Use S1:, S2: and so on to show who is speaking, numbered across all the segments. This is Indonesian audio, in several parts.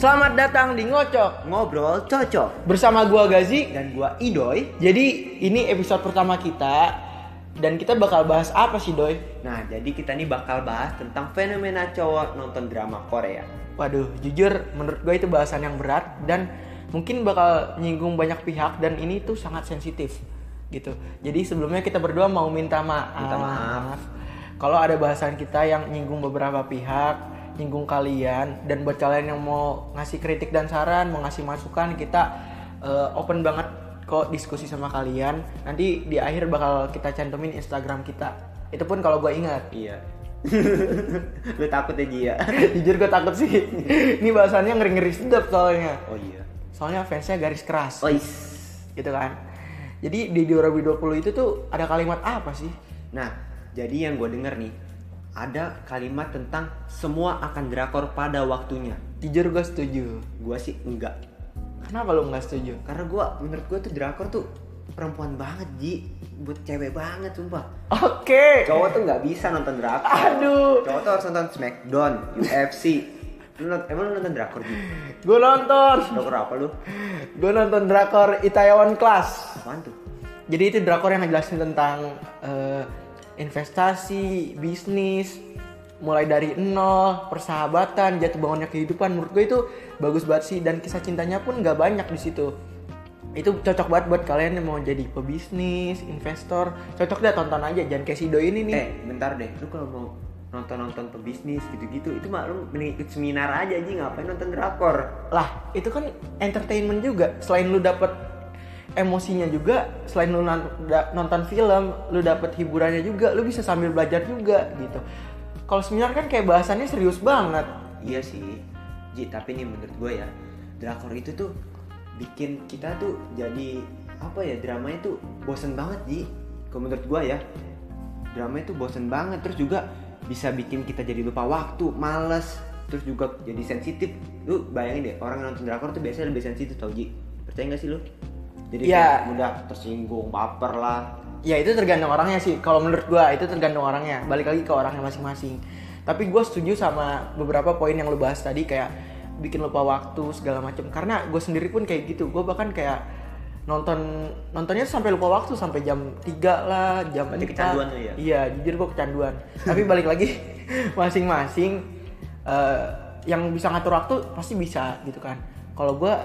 S1: Selamat datang di Ngocok
S2: Ngobrol cocok
S1: bersama gua Gazi.
S2: dan gua Idoy.
S1: Jadi ini episode pertama kita dan kita bakal bahas apa sih Doi?
S2: Nah, jadi kita nih bakal bahas tentang fenomena cowok nonton drama Korea.
S1: Waduh, jujur menurut gue itu bahasan yang berat dan mungkin bakal nyinggung banyak pihak dan ini tuh sangat sensitif gitu. Jadi sebelumnya kita berdua mau minta maaf.
S2: Minta maaf.
S1: Kalau ada bahasan kita yang nyinggung beberapa pihak, nyinggung kalian dan buat kalian yang mau ngasih kritik dan saran, mau ngasih masukan, kita eh, open banget kok diskusi sama kalian. Nanti di akhir bakal kita cantumin Instagram kita. Itu pun kalau gue ingat.
S2: Iya. Lu takut ya, Ji, ya?
S1: Jujur gue takut sih. Ini bahasannya ngeri-ngeri sedap soalnya.
S2: Oh iya.
S1: Soalnya fansnya garis keras.
S2: Ois.
S1: Gitu kan. Jadi di 2020 itu tuh ada kalimat apa sih?
S2: Nah, jadi yang gua denger nih, ada kalimat tentang semua akan drakor pada waktunya.
S1: Jujur gue setuju.
S2: Gua sih enggak.
S1: Kenapa lu nggak setuju?
S2: Karena gua menurut gua tuh drakor tuh perempuan banget, Ji. Buat cewek banget, sumpah.
S1: Oke.
S2: Cowok tuh nggak bisa nonton drakor.
S1: Aduh.
S2: Cowok tuh harus nonton Smackdown, UFC. Lu nont- emang lu nonton drakor Ji?
S1: Gue nonton.
S2: Drakor apa lu?
S1: Gue nonton drakor Itaewon Class.
S2: Apaan tuh?
S1: Jadi itu drakor yang ngejelasin tentang eh, investasi, bisnis, mulai dari nol, persahabatan, jatuh bangunnya kehidupan. Menurut gue itu bagus banget sih dan kisah cintanya pun nggak banyak di situ. Itu cocok banget buat kalian yang mau jadi pebisnis, investor. Cocok deh tonton aja, jangan kayak si Doi ini nih.
S2: Eh, bentar deh. Lu kalau mau nonton-nonton pebisnis gitu-gitu, itu mah lu mending ikut seminar aja Ji, ngapain nonton drakor?
S1: Lah, itu kan entertainment juga. Selain lu dapet emosinya juga, selain lu nan- da- nonton film, lu dapet hiburannya juga, lu bisa sambil belajar juga gitu. Kalau seminar kan kayak bahasannya serius banget.
S2: Iya sih. Ji, tapi nih menurut gue ya, drakor itu tuh bikin kita tuh jadi apa ya dramanya tuh bosen banget Ji. Kalau menurut gue ya, drama itu bosen banget terus juga bisa bikin kita jadi lupa waktu, males, terus juga jadi sensitif. Lu bayangin deh, orang yang nonton drakor tuh biasanya lebih sensitif tau Ji. Percaya gak sih lu? Jadi
S1: Iya.
S2: kayak mudah tersinggung, baper lah.
S1: Ya itu tergantung orangnya sih. Kalau menurut gua itu tergantung orangnya. Balik lagi ke orangnya masing-masing. Tapi gua setuju sama beberapa poin yang lu bahas tadi kayak bikin lupa waktu segala macam. Karena gue sendiri pun kayak gitu. Gue bahkan kayak nonton nontonnya sampai lupa waktu sampai jam 3 lah, jam 4.
S2: Berarti kecanduan lu ya?
S1: Iya, jujur gue kecanduan. Tapi balik lagi masing-masing eh, yang bisa ngatur waktu pasti bisa gitu kan. Kalau gua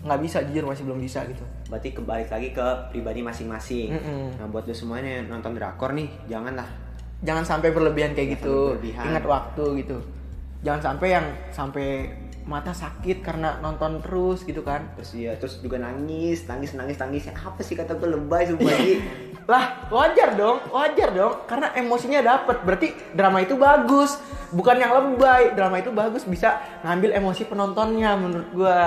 S1: nggak bisa jujur masih belum bisa gitu.
S2: berarti kebalik lagi ke pribadi masing-masing.
S1: Mm-mm.
S2: Nah buat lu semuanya yang nonton drakor nih, janganlah.
S1: jangan sampai berlebihan kayak gitu
S2: sampai berlebihan.
S1: ingat waktu gitu jangan sampai yang sampai mata sakit karena nonton terus gitu kan
S2: Terus ya, terus juga nangis, nangis, nangis, nangis. Ya, Apa sih kata gue lebay sumpah Ji?
S1: lah wajar dong wajar dong karena emosinya dapat berarti drama itu bagus bukan yang lebay drama itu bagus bisa ngambil emosi penontonnya menurut gua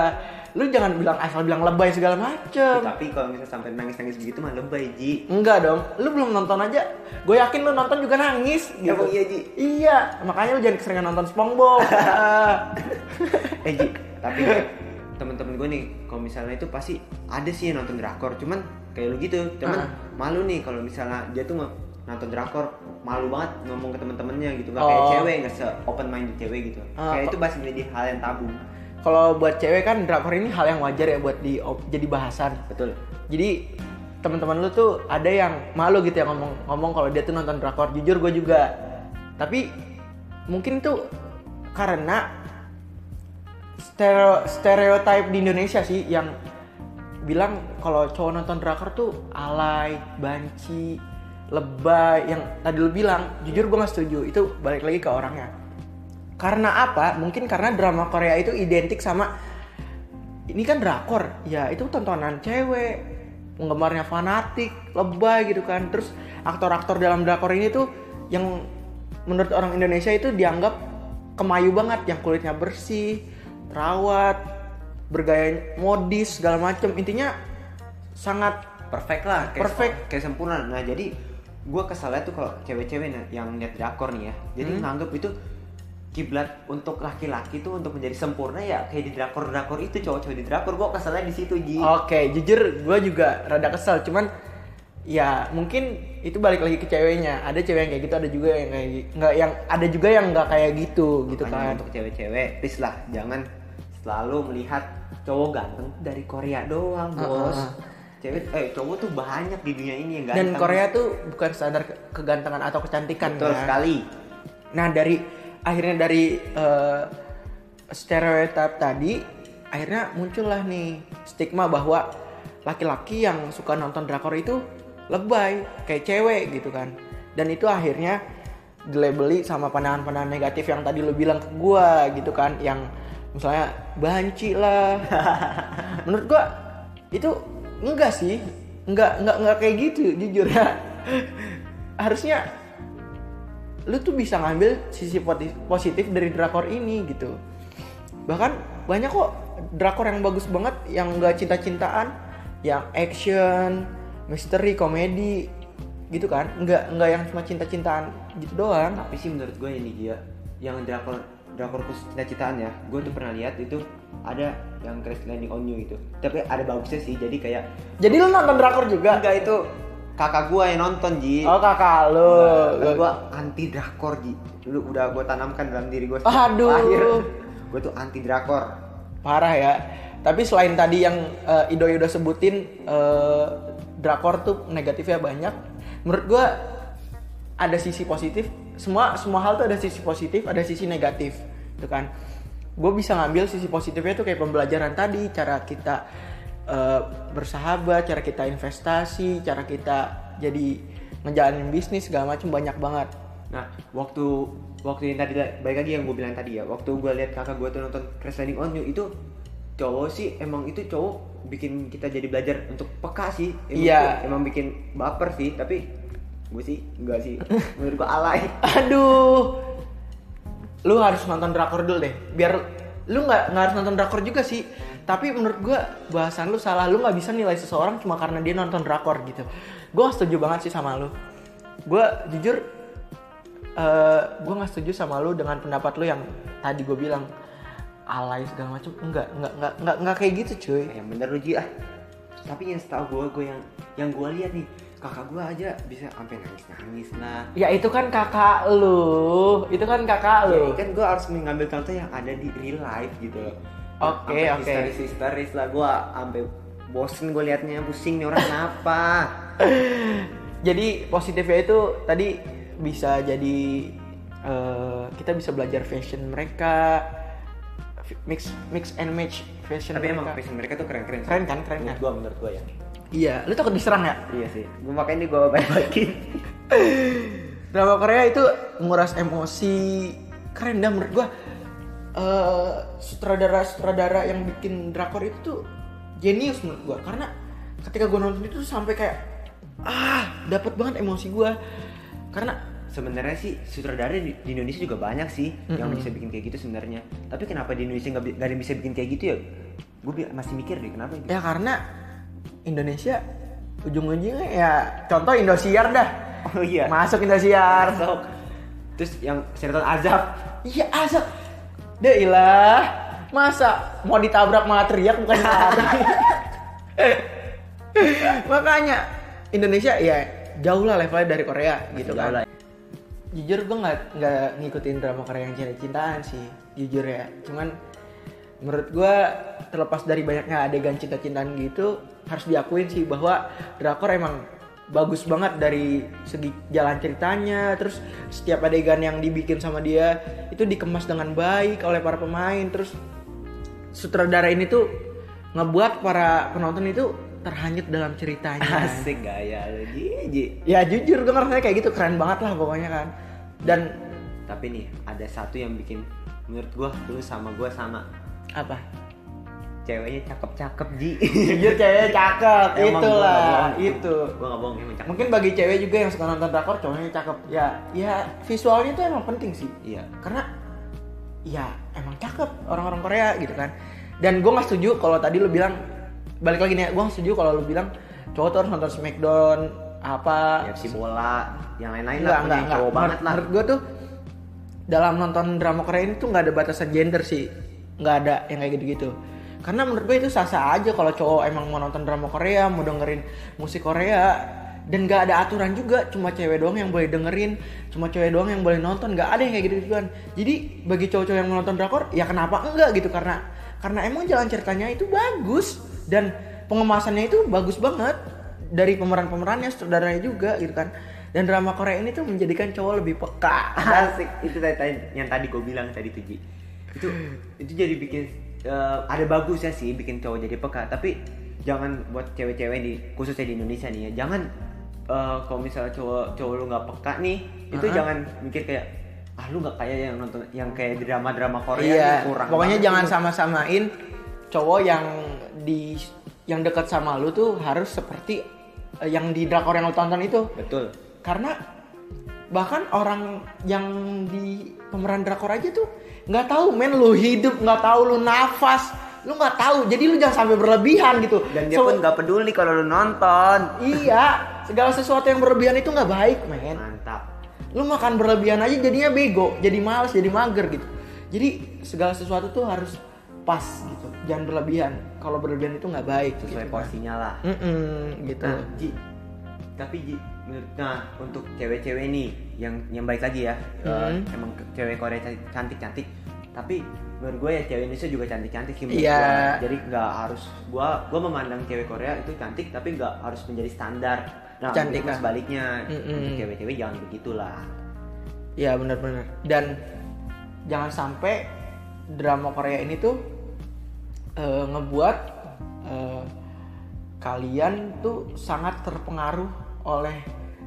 S1: lu jangan bilang asal bilang lebay segala macem
S2: Tapi kalau misalnya sampai nangis-nangis begitu mah lebay Ji.
S1: enggak dong lu belum nonton aja gue yakin lu nonton juga nangis gitu
S2: Emang iya, Ji?
S1: iya makanya lu jangan keseringan nonton SpongeBob
S2: Eh Ji, tapi ya, temen-temen gue nih, kalau misalnya itu pasti ada sih yang nonton drakor. Cuman kayak lu gitu,
S1: Ah.
S2: cuman malu nih kalau misalnya dia tuh mau nonton drakor malu banget ngomong ke temen-temennya gitu nggak kayak
S1: Oh.
S2: cewek nggak se open minded cewek gitu
S1: Ah,
S2: kayak
S1: kok-
S2: itu pasti menjadi hal yang tabu
S1: Kalau buat cewek kan drakor ini hal yang wajar ya buat di jadi bahasan.
S2: betul
S1: Jadi teman-teman lu tuh ada yang malu gitu ya ngomong ngomong kalau dia tuh nonton drakor. Jujur gue juga. Tapi mungkin tuh karena stereo, stereotype di Indonesia sih yang bilang kalau cowok nonton drakor tuh alay, banci, lebay yang tadi lu bilang. Jujur gue nggak setuju. Itu balik lagi ke orangnya. Karena apa? Mungkin karena drama Korea itu identik sama ini kan drakor, ya itu tontonan cewek, penggemarnya fanatik, lebay gitu kan. Terus aktor-aktor dalam drakor ini tuh yang menurut orang Indonesia itu dianggap kemayu banget, yang kulitnya bersih, terawat, bergaya modis segala macem. Intinya sangat
S2: perfect lah kayak
S1: Perfect.
S2: kayak sempurna nah jadi gue kesalnya tuh kalau cewek-cewek nah, yang lihat drakor nih ya jadi
S1: Hmm.
S2: nganggep itu kiblat untuk laki-laki tuh untuk menjadi sempurna ya kayak di drakor drakor itu cowok-cowok di drakor gue kesalnya di situ ji
S1: Oke, jujur gue juga rada kesel, cuman ya mungkin itu balik lagi ke ceweknya. Ada cewek yang kayak gitu, ada juga yang kayak gi- nggak yang ada juga yang nggak kayak gitu gitu
S2: Makanya
S1: kan.
S2: untuk cewek-cewek please lah jangan selalu melihat cowok ganteng dari Korea doang
S1: Ah, ah,
S2: bos
S1: ah.
S2: cewek eh cowok tuh banyak di dunia ini yang
S1: Dan
S2: ganteng
S1: Korea tuh bukan standar ke- kegantengan atau kecantikan
S2: kan? betul
S1: ya.
S2: sekali
S1: Nah dari akhirnya dari eh, stereotip tadi akhirnya muncullah nih stigma bahwa laki-laki yang suka nonton drakor itu lebay kayak cewek gitu kan. Dan itu akhirnya dilabeli sama pandangan-pandangan negatif yang tadi lo bilang ke gua gitu kan yang misalnya banci lah. Menurut gua itu enggak sih, enggak enggak enggak kayak gitu jujur ya. Harusnya lu tuh bisa ngambil sisi poti- positif dari drakor ini gitu bahkan banyak kok drakor yang bagus banget yang gak cinta-cintaan yang action misteri komedi gitu kan nggak nggak yang cuma cinta-cintaan gitu doang
S2: tapi sih menurut gue ini dia yang drakor drakor khusus cita-citaan ya gue tuh pernah lihat itu ada yang crash landing on you itu tapi ada bagusnya sih jadi kayak
S1: jadi lu nonton drakor juga
S2: enggak itu kakak gue yang nonton ji
S1: oh kakak lu
S2: gue anti drakor ji dulu udah gue tanamkan dalam diri gue
S1: Aduh.
S2: gue tuh anti drakor
S1: parah ya tapi selain tadi yang eh, Idoy udah sebutin eh, drakor tuh negatifnya banyak menurut gua ada sisi positif semua semua hal tuh ada sisi positif ada sisi negatif itu kan gue bisa ngambil sisi positifnya tuh kayak pembelajaran tadi cara kita eh, bersahabat cara kita investasi cara kita jadi ngejalanin bisnis segala macam banyak banget
S2: Nah, waktu waktu yang tadi baik lagi yang gue bilang tadi ya, waktu gue lihat kakak gue tuh nonton Crash Landing on You itu cowok sih emang itu cowok bikin kita jadi belajar untuk peka sih. Emang
S1: Iya.
S2: itu Emang bikin baper sih, tapi gue sih enggak sih. Menurut gue alay.
S1: Aduh. Lu harus nonton drakor dulu deh. Biar lu nggak nggak harus nonton drakor juga sih. Tapi menurut gua bahasan lu salah. Lu nggak bisa nilai seseorang cuma karena dia nonton drakor gitu. Gua nggak setuju banget sih sama lu. Gua jujur eh gua nggak setuju sama lu dengan pendapat lu yang tadi gue bilang alay segala macam enggak enggak enggak enggak enggak kayak gitu cuy
S2: Yang bener lu Ji ah. Tapi yang setahu gue, gue yang yang gue lihat nih kakak gue aja bisa sampai nah. nangis nangis lah.
S1: ya itu kan kakak lu itu kan kakak
S2: Ya,
S1: lu
S2: kan gue harus mengambil contoh yang ada di real life gitu loh.
S1: Oke,
S2: Sampai
S1: oke.
S2: Histeris-histeris lah gue sampai bosen gue liatnya pusing nih orang kenapa.
S1: jadi positifnya itu tadi bisa jadi eh, kita bisa belajar fashion mereka fi- mix mix and match fashion
S2: Tapi emang
S1: mereka.
S2: passion mereka tuh keren-keren. sih.
S1: Keren kan? Keren
S2: menurut
S1: kan?
S2: gue menurut gue ya.
S1: iya lu takut diserang ya
S2: Iya sih. Gue makanya gue baik-baikin.
S1: drama Korea itu nguras emosi keren dah menurut gua Eh, sutradara-sutradara yang bikin drakor itu tuh jenius menurut gua karena ketika gua nonton itu tuh sampai kayak ah dapat banget emosi gua karena
S2: Sebenarnya sih sutradara di, di Indonesia juga banyak sih yang bisa bikin kayak gitu sebenarnya. Tapi kenapa di Indonesia nggak bi- nggak ada yang bisa bikin kayak gitu ya? Gue masih mikir deh kenapa gitu.
S1: Ya karena Indonesia ujung-ujungnya ya contoh Indosiar dah.
S2: Oh iya.
S1: Masuk Indosiar.
S2: Masuk. Terus yang Sheraton Azab
S1: Iya asap. Dailah. Masa mau ditabrak malah teriak bukan lari. Makanya Indonesia ya jauh lah levelnya dari Korea gitu
S2: Jauh
S1: kan.
S2: lah.
S1: Jujur gue nggak nggak ngikutin drama Korea yang cinta-cintaan sih, jujur ya. Cuman menurut gue terlepas dari banyaknya adegan cinta-cintaan gitu harus diakuin sih bahwa drakor emang bagus banget dari segi jalan ceritanya terus setiap adegan yang dibikin sama dia itu dikemas dengan baik oleh para pemain terus sutradara ini tuh ngebuat para penonton itu terhanyut dalam ceritanya
S2: Asik gaya lagi Ji.
S1: ya jujur gue ngerasa kayak gitu keren banget lah pokoknya kan dan
S2: Tapi nih ada satu yang bikin menurut gua lu sama gua sama
S1: apa
S2: ceweknya cakep-cakep Ji.
S1: jujur cewek cakep itulah itu
S2: Gue gak bohong emang cakep. Iya.
S1: mungkin bagi cewek juga yang suka nonton drakor cowoknya cakep ya ya visualnya itu emang penting sih
S2: Iya.
S1: karena ya emang cakep orang-orang Korea gitu kan dan gue nggak setuju kalau tadi lu bilang balik lagi nih gue nggak setuju kalau lu bilang cowok tuh harus nonton Smackdown apa
S2: UFC bola, yang
S1: enggak
S2: lain-lain lah,
S1: enggak
S2: pokoknya
S1: enggak
S2: cowok banget lah.
S1: menurut gue tuh dalam nonton drama Korea ini tuh nggak ada batasan gender sih nggak ada yang kayak gitu-gitu karena menurut gue itu sah-sah aja kalau cowok emang mau nonton drama Korea mau dengerin musik Korea dan nggak ada aturan juga cuma cewek doang yang boleh dengerin cuma cewek doang yang boleh nonton nggak ada yang kayak gitu gituan jadi bagi cowok-cowok yang mau nonton drakor ya kenapa enggak gitu karena karena emang jalan ceritanya itu bagus dan pengemasannya itu bagus banget dari pemeran-pemerannya saudaranya juga gitu kan dan drama Korea ini tuh menjadikan cowok lebih peka
S2: asik itu tadi, tadi- yang tadi gue bilang tadi tuh Ji itu itu jadi bikin eh, ada bagusnya sih bikin cowok jadi peka tapi jangan buat cewek-cewek di khususnya di Indonesia nih ya jangan eh, kalau misalnya cowok cowok lu nggak peka nih itu
S1: Uh-uh.
S2: jangan mikir kayak ah lu nggak kayak yang nonton yang kayak drama-drama Korea nih,
S1: iya
S2: kurang
S1: pokoknya
S2: banget
S1: jangan
S2: lu."
S1: sama-samain cowok yang di yang dekat sama lu tuh harus seperti eh, yang di drakor yang lu tonton itu
S2: betul
S1: karena bahkan orang yang di pemeran drakor aja tuh nggak tahu men lu hidup nggak tahu lu nafas lu nggak tahu jadi lu jangan sampai berlebihan gitu
S2: dan dia
S1: So-
S2: pun nggak peduli kalau lu nonton
S1: iya segala sesuatu yang berlebihan itu nggak baik men
S2: mantap
S1: lu makan berlebihan aja jadinya bego jadi males jadi mager gitu jadi segala sesuatu tuh harus pas gitu jangan berlebihan kalau berlebihan itu nggak baik gitu.
S2: sesuai porsinya lah
S1: Mm-mm, gitu
S2: Nah, Ji, tapi Ji, menurut nah untuk cewek-cewek nih yang yang baik lagi ya, eh,
S1: Hmm.
S2: emang ke- cewek Korea ca- cantik-cantik. Tapi menurut gue ya cewek Indonesia juga cantik-cantik sih menurut
S1: Iya.
S2: gue. Jadi nggak harus gue gue memandang cewek Korea itu cantik tapi nggak harus menjadi standar. Nah,
S1: Cantik,
S2: untuk
S1: ah.
S2: sebaliknya
S1: Mm-mm.
S2: untuk cewek-cewek jangan begitulah.
S1: Iya benar-benar. Dan jangan sampai drama Korea ini tuh eh, ngebuat eh, kalian tuh sangat terpengaruh oleh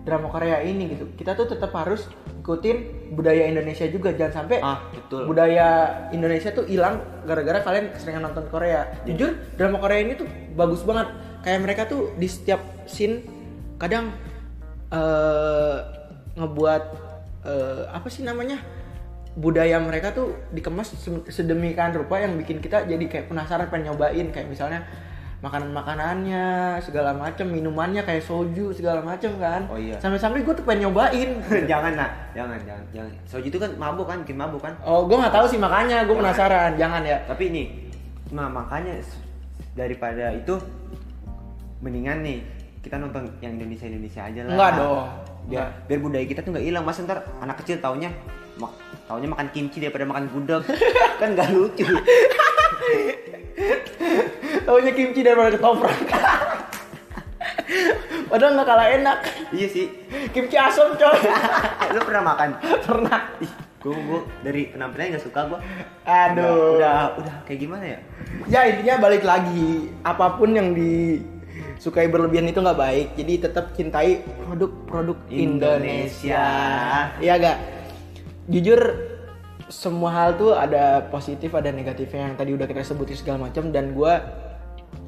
S1: drama Korea ini gitu. Kita tuh tetap harus ikutin budaya Indonesia juga. Jangan sampai
S2: Ah, betul.
S1: budaya Indonesia tuh hilang gara-gara kalian keseringan nonton Korea.
S2: Iya.
S1: Jujur, drama Korea ini tuh bagus banget. Kayak mereka tuh di setiap scene kadang eh, ngebuat eh, apa sih namanya? budaya mereka tuh dikemas se- sedemikian rupa yang bikin kita jadi kayak penasaran pengen nyobain kayak misalnya makanan-makanannya segala macem minumannya kayak soju segala macem kan
S2: Oh, iya.
S1: sampai-sampai gue tuh pengen nyobain
S2: jangan lah, jangan jangan jangan. Soju itu kan mabuk kan, bikin mabuk kan.
S1: oh gue nggak tahu sih makanya gue penasaran jangan ya
S2: tapi ini nah makanya s- daripada itu mendingan nih kita nonton yang Indonesia Indonesia aja lah
S1: Enggak dong.
S2: biar, biar budaya kita tuh nggak hilang mas ntar anak kecil taunya mak taunya makan kimchi daripada makan gudeg kan nggak lucu
S1: Taunya kimchi daripada ketoprak. Padahal nggak kalah enak.
S2: iya sih
S1: Kimchi asam coy.
S2: lu pernah makan
S1: Pernah.
S2: Ih, gua, gua dari penampilannya nggak suka gua
S1: Aduh.
S2: udah, udah udah kayak gimana ya
S1: Ya intinya balik lagi. Apapun yang disukai berlebihan itu nggak baik. Jadi tetap cintai produk-produk Indonesia.
S2: Indonesia.
S1: Iya gak? Jujur semua hal tuh ada positif ada negatifnya yang tadi udah kita sebutin segala macam dan gua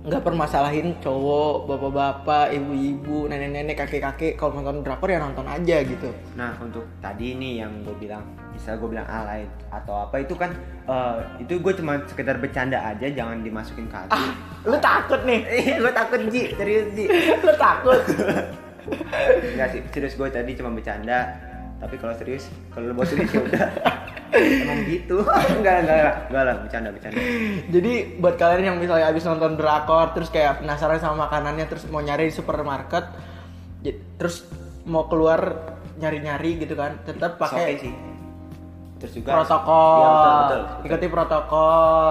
S1: nggak permasalahin cowok bapak-bapak ibu-ibu nenek-nenek kakek-kakek kalau nonton drakor ya nonton aja gitu
S2: Nah untuk tadi ini yang gue bilang bisa gue bilang alay atau apa itu kan eh, itu gue cuma sekedar bercanda aja jangan dimasukin ke hati.
S1: ah lu takut nih
S2: Eh, gue takut Ji, serius Ji
S1: lu takut
S2: Enggak sih, serius gue tadi cuma bercanda Tapi kalau serius, kalau lu mau serius ya udah Emang gitu Enggak, enggak, enggak Enggak lah, bercanda, bercanda
S1: Jadi buat kalian yang misalnya habis nonton drakor terus kayak penasaran sama makanannya terus mau nyari di supermarket j- terus mau keluar nyari-nyari gitu kan tetap
S2: Pakai
S1: pakai
S2: sih Terus juga
S1: protokol.
S2: Iya, betul, betul, betul.
S1: Ikuti protokol.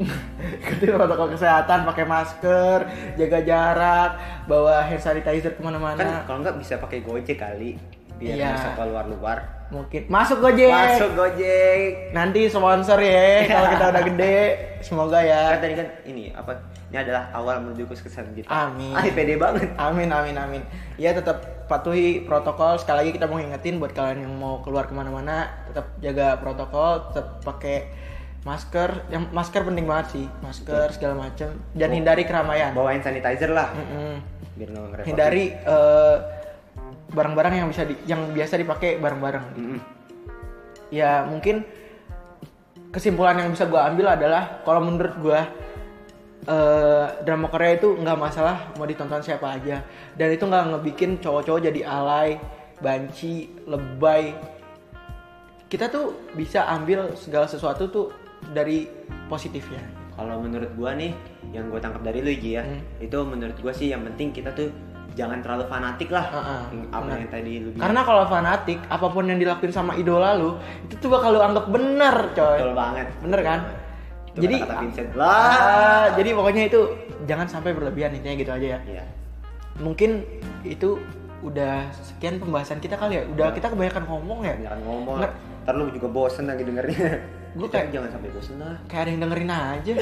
S1: Ikuti protokol kesehatan, pakai masker, jaga jarak, bawa hand sanitizer
S2: Kan
S1: kemana-mana.
S2: kalau enggak bisa pakai gojek kali Biar
S1: Iya.
S2: nggak usah keluar-luar
S1: Mungkin masuk Gojek.
S2: Masuk gojek
S1: Nanti sponsor ya kalau kita udah gede. Semoga ya.
S2: kan tadi kan ini apa ini adalah awal menuju ke kesuksesan kita
S1: Amin.
S2: ah pede banget
S1: Amin amin amin. Ya tetap patuhi protokol. Sekali lagi kita mau ngingetin buat kalian yang mau keluar kemana-mana, tetap jaga protokol, tetap pakai masker. Yang masker penting banget sih, masker segala macam. Dan hindari keramaian. Hmm.
S2: bawain sanitizer lah
S1: Mm-mm.
S2: biar nggak ngerepotin
S1: Hindari eh, barang-barang yang bisa di, yang biasa dipakai bareng-bareng.
S2: Mm-mm.
S1: Ya mungkin kesimpulan yang bisa gue ambil adalah kalau menurut gue eh, drama Korea itu nggak masalah mau ditonton siapa aja dan itu nggak ngebikin cowok-cowok jadi alay, banci, lebay. Kita tuh bisa ambil segala sesuatu tuh dari positifnya.
S2: kalau menurut gua nih yang gua tangkap dari lu Ji ya
S1: Hmm.
S2: itu menurut gua sih yang penting kita tuh jangan terlalu fanatik lah
S1: Heeh,
S2: Yang- apa
S1: Ah, benar.
S2: yang tadi lu bilang
S1: Karena kalau fanatik, apapun yang dilakuin sama idola lu, itu tuh bakal lu anggap bener, coy.
S2: betul banget
S1: Bener kan?
S2: Itu
S1: Jadi-
S2: kata Vincent
S1: Ah,
S2: lah
S1: jadi pokoknya itu jangan sampai berlebihan intinya gitu aja ya.
S2: Iya.
S1: Mungkin itu udah sekian pembahasan kita kali ya. Udah
S2: Udah.
S1: kita kebanyakan ngomong ya.
S2: Jangan ngomong.
S1: Nggak.
S2: Ntar lu juga bosen lagi dengernya.
S1: Gua
S2: Kita
S1: kayak-
S2: jangan sampai bosen lah.
S1: Kayak ada yang dengerin aja.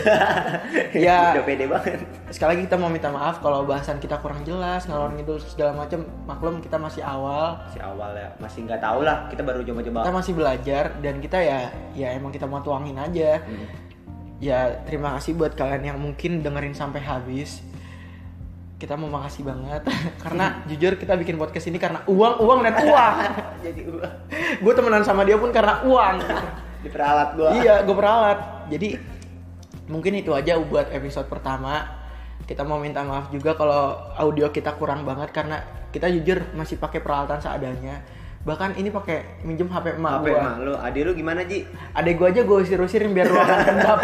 S1: ya
S2: Udah pede banget.
S1: sekali lagi kita mau minta maaf kalau bahasan kita kurang jelas, ngalor ngidul segala macam. Maklum kita masih awal,
S2: Si awal ya masih nggak tahu lah. Kita baru coba-coba.
S1: kita masih belajar dan kita ya ya emang kita mau tuangin aja.
S2: Hmm.
S1: Ya terima kasih buat kalian yang mungkin dengerin sampai habis. Kita mau makasih banget karena jujur kita bikin podcast ini karena uang, uang dan uang.
S2: Jadi gua
S1: gue temenan sama dia pun karena uang.
S2: diperalat gua.
S1: iya, gue peralat. Jadi mungkin itu aja buat episode pertama. Kita mau minta maaf juga kalau audio kita kurang banget karena kita jujur masih pakai peralatan seadanya. Bahkan ini pakai minjem HP emak
S2: Apa
S1: gue.
S2: emang lu? Adik lu gimana Ji?
S1: Adek gue aja gue usir-usirin biar ruangan kendap.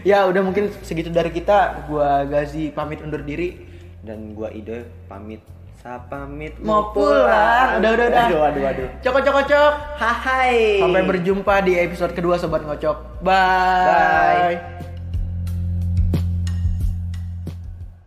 S1: ya udah mungkin segitu dari kita. Gue Gazi pamit undur diri.
S2: Dan gua ide pamit. Sa pamit
S1: Mau pulang. Udah udah udah.
S2: Aduh aduh aduh.
S1: Cokok cokok cok.
S2: Hai.
S1: Sampai berjumpa di episode kedua Sobat Ngocok. Bye.
S2: Bye.